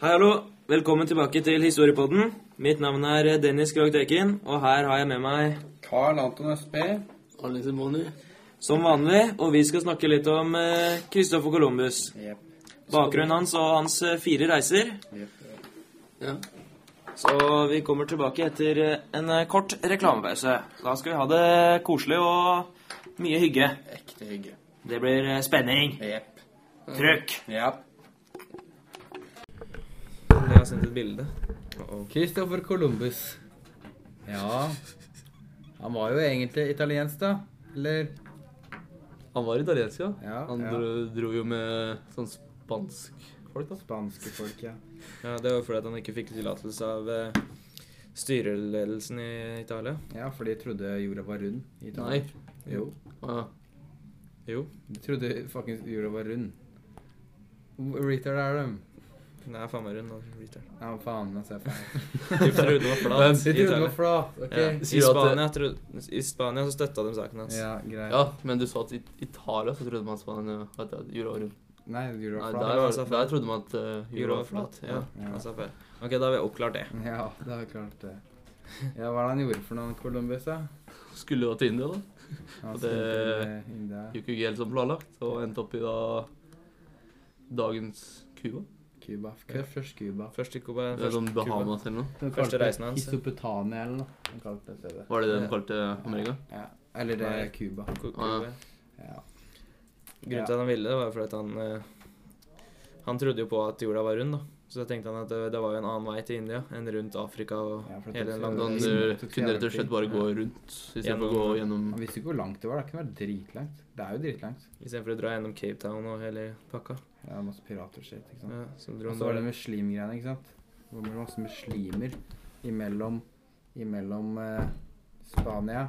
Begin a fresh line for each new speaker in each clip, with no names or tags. Hei, hallo. Velkommen tilbake til Historiepodden. Mitt navn er Dennis Krogh Tekin, og her har jeg med meg
Carl Anton Østby.
Alle Simoni.
som vanlig, og vi skal snakke litt om eh, Christopher Columbus.
Yep.
Bakgrunnen hans og hans eh, fire reiser.
Ja.
Så vi kommer tilbake etter eh, en eh, kort reklamepause. Da skal vi ha det koselig og mye hygge.
Ekte hygge.
Det blir eh, spenning.
Jepp.
Trykk.
Jepp.
Jeg har sendt et bilde.
Christopher Columbus. Ja Han var jo egentlig italiensk, da. Eller
Han var italiensk, ja.
Ja,
han
ja.
Dro, dro jo med sånn spansk folk, da.
Spanske folk, ja.
Ja, det var fordi at han ikke fikk tillatelse av styreledelsen i Italia.
Ja, for de trodde jorda var rund. i
Nei.
Italia. Jo.
Ah,
Jo.
De trodde faktisk jorda var rund. Retard er dem.
Den er faen meg rund.
Ja, faen, nå ser jeg feil.
De trodde det var
De
flat.
trodde det var flat. Ok.
Ja.
Sier
I,
du at det-
Spania, trodde, I Spania så støtta de saken hans.
Ja, greit.
ja, men du sa at i Italia så trodde man at Spania at at jorda var rund.
Nei, jorda
Nei,
var
der,
flat.
var, der trodde man at eh,
Jorda var flat. Ja,
Ja.
han sa feil. Ok, da har vi oppklart det.
Ja, det har jeg klart det. Ja, hva er det han gjorde for noen Columbus, da?
Skulle da til India, da.
Han
Det-
spilte med India.
Gikk jo ikke helt som planlagt, og endte opp i da dagens Cuba.
Cuba. Hva er først Cuba?
Først i Cuba,
Det er
først
sånn
Cuba.
Bahamas eller noe.
Den
Første reisen hans.
Isopetania eller noe. Den kalte det stedet.
Var det det
Ja.
de kalte Amerika?
Ja. Eller det
Nei.
er Cuba.
Cu-
Ah, ja.
Cuba.
Ja.
Grunnen til at han ville det, var fordi at han eh, Han trodde jo på at jorda var rund, da. Så da tenkte han at eh, det, det var jo en annen vei til India enn rundt Afrika og
Ja, for det
hele Liksom,
tok
den lange
så-
Da han
det er
eh,
ikke-
kunne rett og slett bare gå rundt istedenfor å gå gjennom
Han visste ikke hvor langt det var. Det kunne vært dritlangt. Det er jo dritlangt.
Istedenfor å dra gjennom Cape Town og hele pakka.
Ja, det er masse pirater og shit. ikke sant.
Ja, så dro han
Og
Altså,
så var det
bare-
muslimgreiene, ikke sant. Det var masse muslimer imellom, imellom eh, Spania,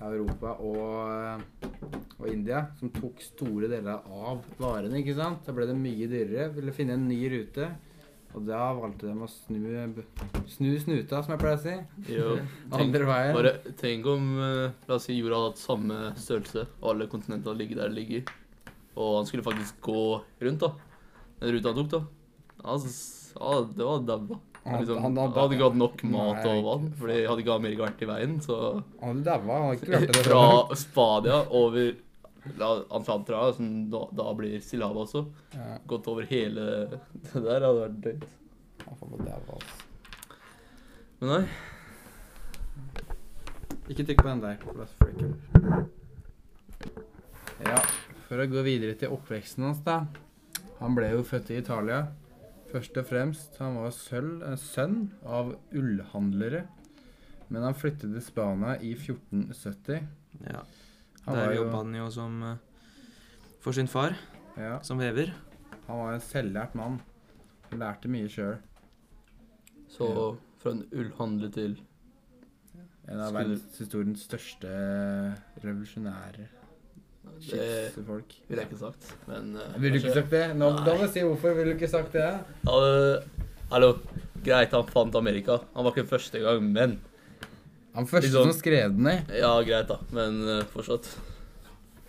Europa og, eh, og India, som tok store deler av varene, ikke sant. Da ble det mye dyrere. Ville finne en ny rute. Og da valgte de å snu, snu snuta, som jeg pleier å si.
Jo, tenk,
Andre veien.
bare, tenk om eh, La oss si jorda hadde hatt samme størrelse, og alle kontinentene ligger der de ligger, og han skulle faktisk gå rundt, da. Den ruta han tok, da. Altså, ja, det var dabba.
Han- han
Liksom, han
dabba.
hadde ikke hatt nok mat
Nei,
og vann, fordi hadde ikke Amerika vært i veien, så
Han hadde daua. Han hadde ikke klart det.
Fra Spania over La Antantra, som da, da blir Silava også,
Ja,
gått over hele Det der hadde vært drøyt.
han får bare daua, altså.
Men nei.
Ikke trykk på den der. for da freaker den. Ja, for å gå videre til oppveksten hans, da. Han ble jo født i Italia. Først og fremst, han var sølv, eh, sønn av ullhandlere. Men han flyttet til Spania i 1470.
Ja.
Han
Der
var jo,
jobba han jo som eh, for sin far,
ja,
som vever.
han var en selvlært mann. Han lærte mye sjøl.
Så
Ja.
fra en ullhandler til
En av
Skulle-
verdenshistoriens største eh, revolusjonære
Det
skipsfolk.
ville jeg ikke sagt, men eh,
Ville du ikke
kanskje-
sagt det? Nå, da må jeg si hvorfor ville du ikke sagt det.
Ja, det- Hallo. Greit, han fant Amerika. Han var ikke første gang, men
Han første
Liksom-
sånn-
som skrev den ned.
Ja, greit, da. Men eh, fortsatt.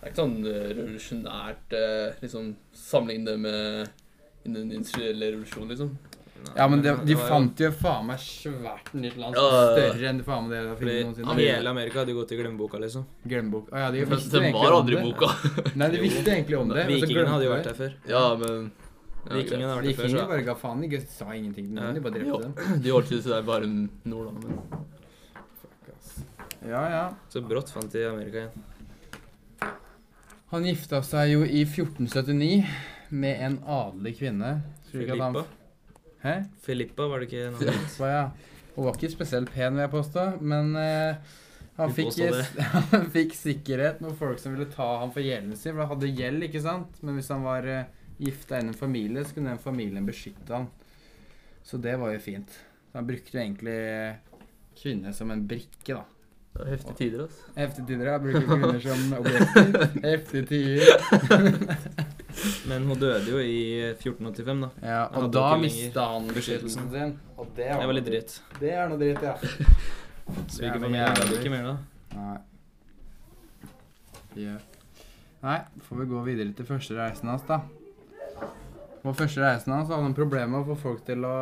Det er ikke sånn eh, revolusjonært eh, liksom Sammenligne det med den industrielle revolusjonen, liksom.
Ja, men det, de
var jo-
fant jo faen meg svært nytt land.
Ja, ja, ja.
Større enn det faen meg dere har funnet
Fordi
noensinne.
hele Amerika hadde gått i glemmeboka, liksom.
Glemmebok. Å ja, de
Den
visste jo
den
egentlig
var
om
aldri i
det.
boka.
Nei, de visste egentlig om det. men så
Vikingene hadde jo vært
glemte de
der før.
ja, men ja,
Vikingene hadde vært der før,
Vikingene
så
bare ga faen. De sa ingenting til noen. De bare drepte dem.
greit. De holdt seg til bare nord, da. Men
Fuck, ass. Ja, ja.
Så brått fant de Amerika igjen.
Han gifta seg jo i 1479 med en adelig kvinne. Tror du ikke at han-
Filippa.
Hæ?
Filippa var det ikke noe annet?
Så ja, Hun var ikke spesielt pen, vil jeg påstå, men eh, han,
Du
fikk,
påstår
han fikk sikkerhet med folk som ville ta ham for gjelden sin. For han hadde gjeld, ikke sant? Men hvis han var eh, gifta inn i en familie, så kunne den familien beskytte han. Så det var jo fint. Så han brukte jo egentlig eh, kvinner som en brikke, da.
det er heftige tider, altså.
Heftige tider, ja. Bruker kvinner som objekter. Heftige tider.
Men hun døde jo i 1485, da.
Ja,
Han
og
hadde
da
ikke lenger
mista han
beskyttelsen.
beskyttelsen sin. Og det
Det
var,
var litt dritt.
Det er noe dritt, ja.
Svigerfamilien hadde ikke mer da.
Nei. Ja. Nei, får vi gå videre til første reisen hans, da. På første reisen hans hadde han problemer med å få folk til å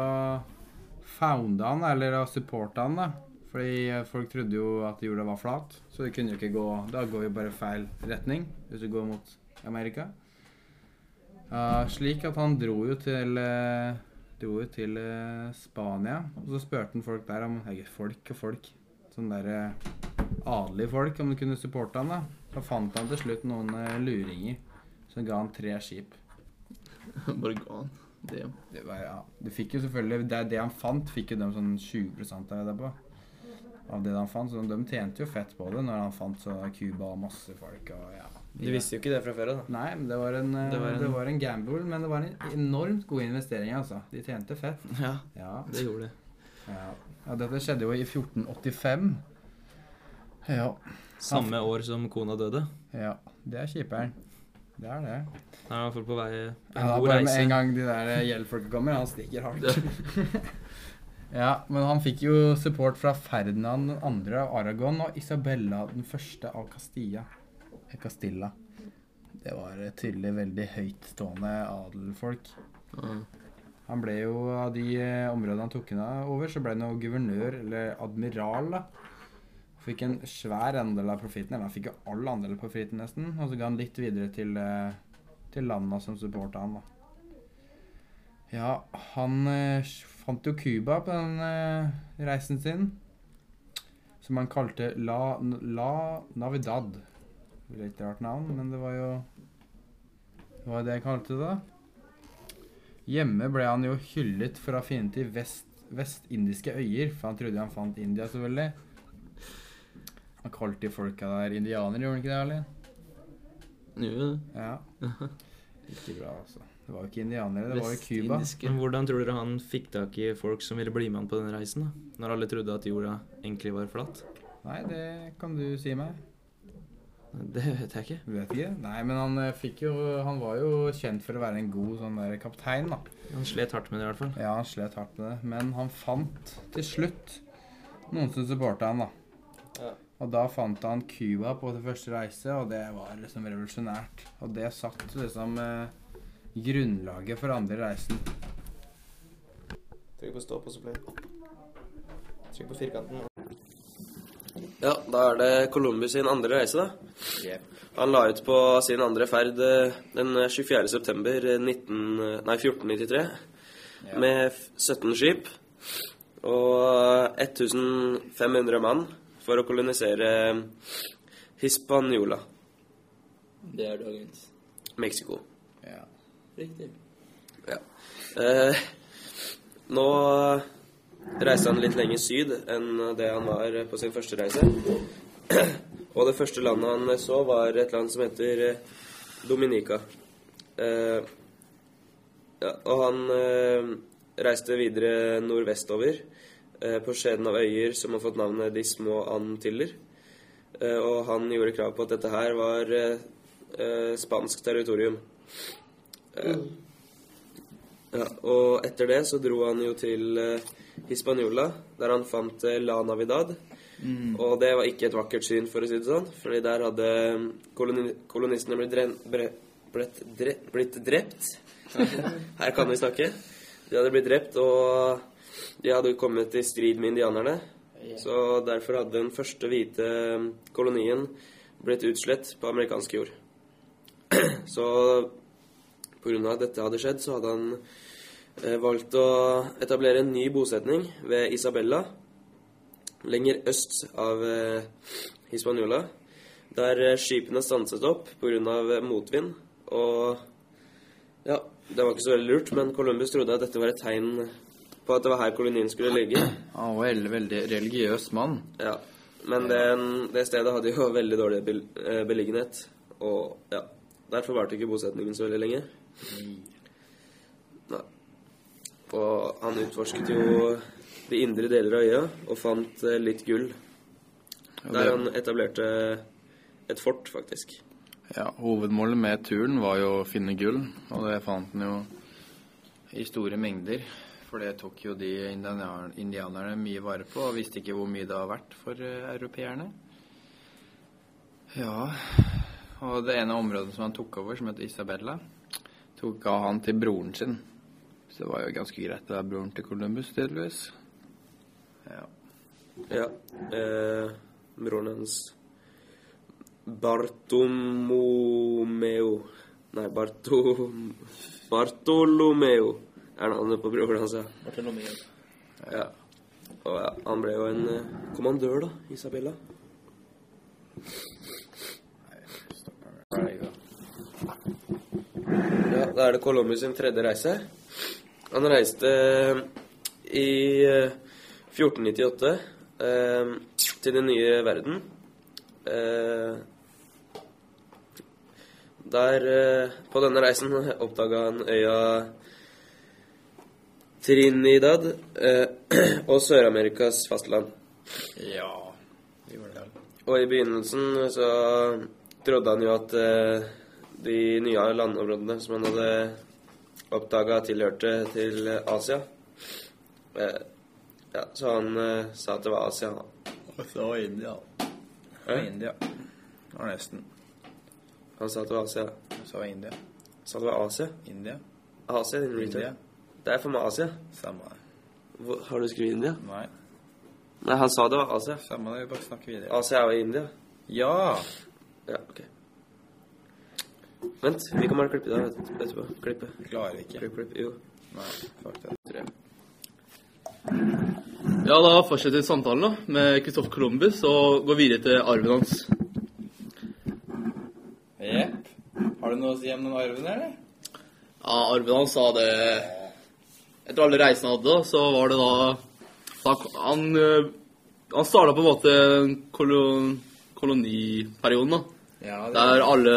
founde han, eller å supporte han, da. Fordi eh, folk trodde jo at jorda var flat, så det kunne jo ikke gå Da går jo bare feil retning hvis du går mot Amerika. Eh, slik at han dro jo til eh, Dro jo til eh, Spania, og så spurte han folk der om Eller folk og folk. Sånn derre adelige folk, om de kunne supporte han, da. Da fant han til slutt noen eh, luringer som ga han tre skip.
Bare ga han. Det,
Det var, ja. Du fikk jo selvfølgelig Det, det han fant, fikk jo de sånn 20 av det der på. Av det han fant, så de tjente jo fett på det når han fant så Cuba og masse folk og ja.
Du visste jo ikke det fra før av, da.
Nei, men det var, en, eh,
Det var en-
det var en gamble, men det var en enormt god investering, altså. De tjente fett.
Ja,
Ja.
det gjorde det.
ja. ja dette skjedde jo i 1485. Ja.
Samme år som kona døde.
ja. Det er kjiperen. Det er det.
Han er i hvert fall på vei på
Ja,
en
da
god
bare med en
reise.
gang de der eh, gjeldfolka kommer, han stikker hardt. ja, men han fikk jo support fra Ferdinand 2. av Aragon og Isabella den første av Castilla. Eh, Castilla. Det var eh, tydelig veldig høytstående adelfolk.
ja.
Han ble jo av de eh, områdene han tok unna over, så ble han jo guvernør, eller admiral, da. Fikk en svær andel av profitten, eller han fikk jo all andel av profitten nesten, og så ga han litt videre til, eh, til landa som supporta han, da. Ja, han eh, s- fant jo Cuba på den eh, reisen sin, som han kalte La, La Navidad. Litt rart navn, men det var jo det var jo det jeg kalte det, da. Hjemme ble han jo hyllet for å ha funnet de vest, vestindiske øyer, for han trodde han fant India, selvfølgelig. Han kalte de folka der indianere, gjorde han ikke det, Erling?
Jo,
Ja. Ikke bra, altså. Det var jo ikke indianere, det var jo Cuba.
Men hvordan tror dere han fikk tak i folk som ville bli med han på den reisen? da? Når alle trodde at jorda egentlig var flat?
Nei, det kan du si meg.
Det vet jeg ikke.
Vet ikke. Nei, men han eh, fikk jo Han var jo kjent for å være en god sånn der kaptein, da.
Han slet hardt med det i hvert fall.
Ja, han slet hardt med det, men han fant til slutt noen som supporta han, da.
Ja.
Og da fant han Cuba på sin første reise, og det var liksom revolusjonært. Og det satt liksom eh, grunnlaget for andre reisen.
Trykk på stopp, og så blir det Trykk på firkanten.
Ja, da er det Columbus sin andre reise, da. Han la ut på sin andre ferd eh, den 24. september eh, 19, nei, 1493 med f- 17 skip og eh, 1500 mann for å kolonisere eh, Hispaniola,
Det er dagens.
Mexico.
Ja.
Riktig.
Ja. Eh, nå reiste han litt lenger syd enn det han var på sin første reise. Og det første landet han så, var et land som heter eh, Dominica. Eh, ja, og han eh, reiste videre nordvestover eh, på skjeden av øyer som har fått navnet De små antiller. Eh, og han gjorde krav på at dette her var eh, eh, spansk territorium. Ja, og etter det så dro han jo til eh, Hispaniola, der han fant eh, La Navidad. Og det var ikke et vakkert syn, for å si det sånn, fordi der hadde mm, koloni kolonistene blitt, dren bre blitt, dre blitt drept. Her kan vi snakke. De hadde blitt drept, og de hadde kommet i strid med indianerne. Så derfor hadde den første hvite mm, kolonien blitt utslett på amerikansk jord. Så Pga. at dette hadde skjedd, så hadde han eh, valgt å etablere en ny bosetning ved Isabella, lenger øst av eh, Hispaniola, der eh, skipene stanset opp pga. eh, motvind. Og ja, det var ikke så veldig lurt, men Columbus trodde at dette var et tegn på at det var her kolonien skulle ligge.
Han var en veldig religiøs mann.
Ja, Men den, det stedet hadde jo veldig dårlig bel- eh, beliggenhet, og ja, derfor varte ikke bosetningen så veldig lenge. Nei. Og han utforsket jo de indre deler av øya og fant eh, litt gull. Der han etablerte et fort, faktisk.
Ja, hovedmålet med turen var jo å finne gull, og det fant han jo i store mengder. For det tok jo de indianer- indianerne mye vare på, og visste ikke hvor mye det har vært for eh, europeerne. Ja, og det ene området som han tok over, som het Isabella,
tok ga han til broren sin. Så det var jo ganske greit å være broren til Columbus, tydeligvis. Ja.
Ja. Eh, broren hennes Bartomomeo Nei, Bartom... Bartolomeo er navnet på broren hans, ja.
Bartolomeo.
ja. Og ja, han ble jo en eh, kommandør, da. Isabella. Ja, da er det Columbus sin tredje reise. Han reiste eh, i eh, 1498 eh, til den nye verden. Eh, der eh, På denne reisen oppdaga han øya Trinidad eh, og Sør-Amerikas fastland.
ja. Det gjorde det.
Og i begynnelsen så trodde han jo at eh, de nye landområdene som han hadde oppdaga, tilhørte til eh, Asia. Eh, ja, så han eh, sa at det var Asia.
Og så India.
Hæ?
India. Det var nesten.
Han sa at det var Asia.
Så var India.
Sa det var Asia?
India.
Asia, din
India.
retard. Det er for meg Asia.
Samme det.
Hvor, har du skrevet India?
Nei,
Nei, han sa det var Asia.
samme det. Vi bare snakker videre.
Asia er jo India.
Ja!
Ja, ok. Vent, vi kan bare klippe det her etterpå. Klippe.
Klarer ikke.
Klipp, klipp. Jo.
Nei, fuck det.
Ja, da fortsetter samtalen da, med Kristoffer Columbus og går videre til arven hans.
Jepp. Har du noe å si om den arven, eller?
Ja, arven hans sa det Etter alle reisene han hadde, da, så var det da, da Han, eh, han starta på en måte kolon, koloniperioden, da.
Ja,
Der alle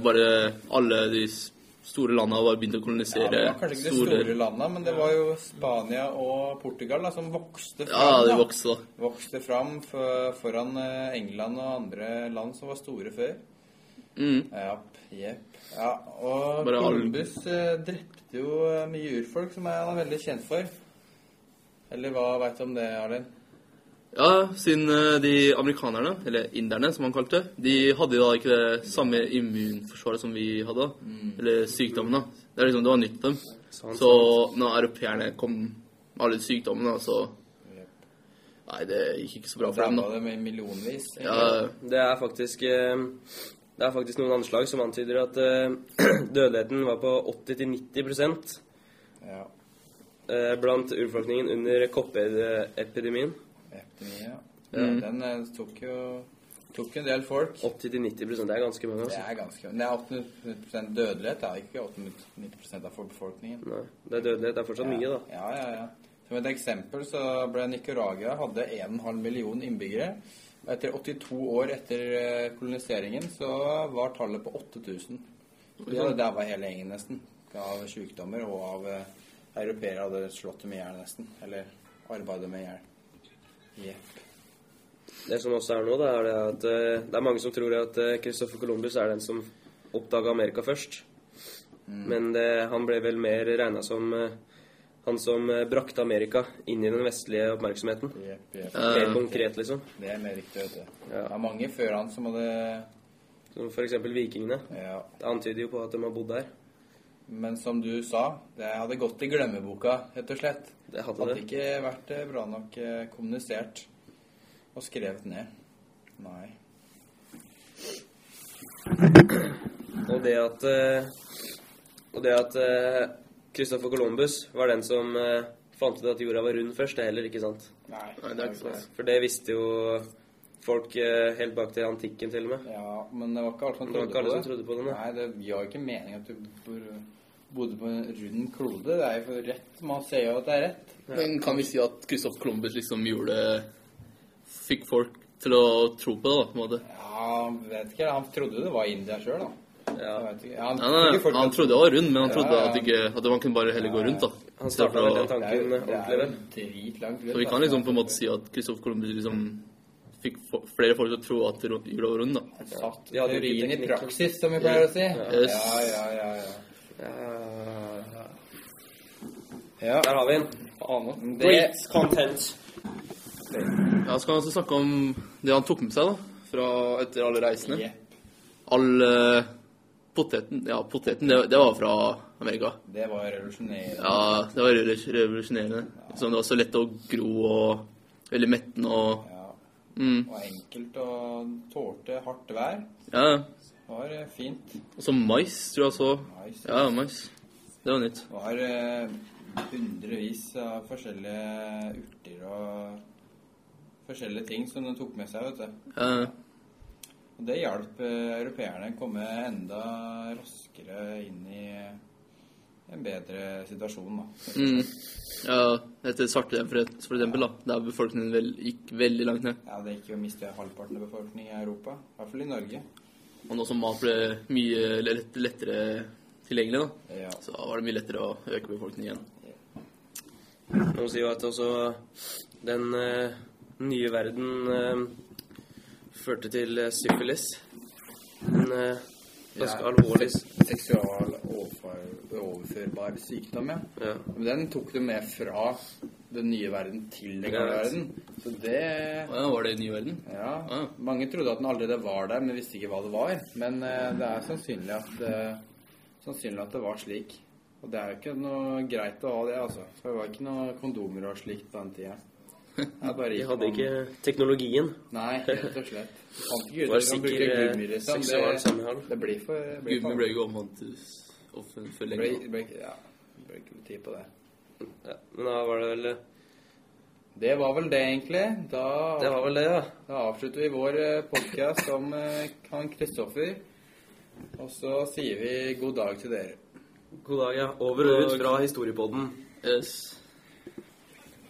bare Alle de s- store landa bare begynte å kolonisere
det var kanskje ikke de
store
store landene, men det var jo Spania og Portugal da, som vokste fram.
Ja, de
da.
vokste, da.
Vokste fram for, foran eh, England og andre land som var store før.
Mm.
Japp, jepp. Ja, og
Bare alle-
Columbus eh, drepte jo eh, mye urfolk, som han er veldig kjent for. Eller hva veit du om det, Arlen?
Ja, siden eh, de amerikanerne, eller inderne som han kalte det, de hadde da ikke det samme immunforsvaret som vi hadde. da.
Mm.
Eller sykdommen, da. Det, er liksom, det var nytt for dem. Så når europeerne kom med alle de sykdommene, da, så Nei, det gikk ikke så bra for dem,
Ramma
da.
det med millionvis.
Ja,
Det er faktisk eh, Det er faktisk noen anslag som antyder at eh, dødeligheten var på 80-90
Ja,
eh, blant urbefolkningen under koppeepidemien.
epidemien, ja.
Mm.
Den eh, tok jo tok en del folk.
80-90 det er ganske mange.
Det
altså.
er ganske Det er 800 dødelighet, det er ikke 890 av for- befolkningen.
Nei, det er dødelighet. Det er fortsatt mye, da.
Ja, ja, ja. Som et eksempel så ble Nicaragua hadde 1,5 million innbyggere. Og Etter 82 år etter eh, koloniseringen så var tallet på 8000. Så De hadde daua hele gjengen nesten. Av sykdommer og av eh, europeere hadde slått dem i hjel nesten. Eller arbeidet med i hjel. Jepp.
Det som også er nå, da, er det at eh, det er mange som tror at eh, Christopher Columbus er den som oppdaga Amerika først. Men det, han ble vel mer regna som eh, han som eh, brakte Amerika inn i den vestlige oppmerksomheten.
Jepp, jepp.
Mer konkret, liksom.
Det er mer riktig, vet du.
Ja.
Det er mange før han som hadde
Som for eksempel vikingene.
Ja.
Det antyder jo på at de har bodd der.
Men som du sa, det hadde gått i glemmeboka, rett og slett.
Det hadde
Hadde
det.
ikke vært eh, bra nok eh, kommunisert og skrevet ned. Nei.
Og det at eh, Og det at eh, Christopher Columbus var den som eh, fant ut at jorda var rund først, det er heller ikke sant.
Nei,
Nei, det er ikke sånn. sant.
For det visste jo folk eh, helt bak til antikken, til og med.
Ja, men det var ikke alle som
Det
trodde,
var ikke alle
på,
som trodde på det, nei.
Nei, det gir jo ikke mening at du bor- bodde på en rund klode. Det er jo for rett. Man ser jo at det er rett.
Men kan vi si at Christopher Columbus liksom gjorde Fikk folk til å tro på det, da, på en måte.
Ja, vet ikke. Han trodde det var India sjøl, da.
Ja.
Jeg vet ikke. Han,
Nei, nei,
ikke folk-
han trodde det var rundt, men han
Ja,
trodde
ja.
at, ikke, at man kunne bare heller gå rundt, da.
Han startet vel den
det er jo,
tanken eh,
det er jo
ordentlig,
dritlangt rundt.
Så vi
da.
kan liksom på en måte si at Christopher Columbus liksom fikk fo- flere folk til å tro at ro- jorda var rund, da.
Satt
De hadde jo ikke
teorien i
teknikken.
praksis, som vi pleier å si.
Yes.
Ja, ja, ja. ja.
vel.
Ja,
Der har vi den.
det,
content.
Ja, så kan vi også snakke om det han tok med seg, da. Fra etter alle reisene.
Jepp.
All eh, poteten Ja, poteten, det, det var fra Amerika.
Det var revolusjonerende.
Ja, det var revolu- revolusjonerende. Liksom, det var så lett å gro og Veldig metten og
Ja.
mm,
var enkelt og tålte hardt vær.
Ja, ja.
Det var eh, fint.
Og så mais, tror jeg så.
Nice.
Ja, ja, mais. Det var nytt.
Det var eh, hundrevis av forskjellige urter og forskjellige ting som de tok med seg, vet du.
Ja, ja.
Og det hjalp eh, europeerne å komme enda raskere inn i en bedre situasjon, da.
Mm. ja etter svartedauden, for, for eksempel, da, der befolkningen vel, gikk veldig langt ned.
Ja, det gikk jo å miste halvparten av befolkningen i Europa, i hvert fall i Norge.
Og nå som mat ble mye lett, lettere tilgjengelig, da,
Ja.
så var det mye lettere å øke befolkningen igjen.
Jeg må si jo at også den eh, nye verden eh, førte til eh, syfilis. En eh, ganske
Ja.
alvorlig s-
Seksual overfar- overførbar sykdom, ja.
ja.
Men den tok du med fra den nye verden til den gamle
Ja.
verden. Så det
Å ja, var det i ny verden?
Ja.
Ja.
Mange trodde at den allerede var der, men visste ikke hva det var. Men eh, det er sannsynlig at, eh, sannsynlig at det var slik. Og det er jo ikke noe greit å ha det, altså. For det var ikke noe kondomer og slikt på den tida. Jeg bare
De
gikk
hadde
man-
ikke teknologien.
Nei, rett og slett. Fant ikke
Det
ut
var
at man
sikker
bruker
eh,
gummi, liksom.
seksual
Det,
sammenhold.
det blir for det blir
Gud,
for-
vi ble ikke omhandlet for
det
lenge.
blir- det blir ikke- Ja. det blir ikke tid på det.
Ja, men da var det vel
Det var vel det, egentlig. Da
Det var vel det, ja.
Da avslutter vi vår podkast om eh, han Kristoffer. Og så sier vi god dag til dere.
God dag, ja. Over og ut fra historiepodden.
Yes.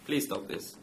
Please, Tattis.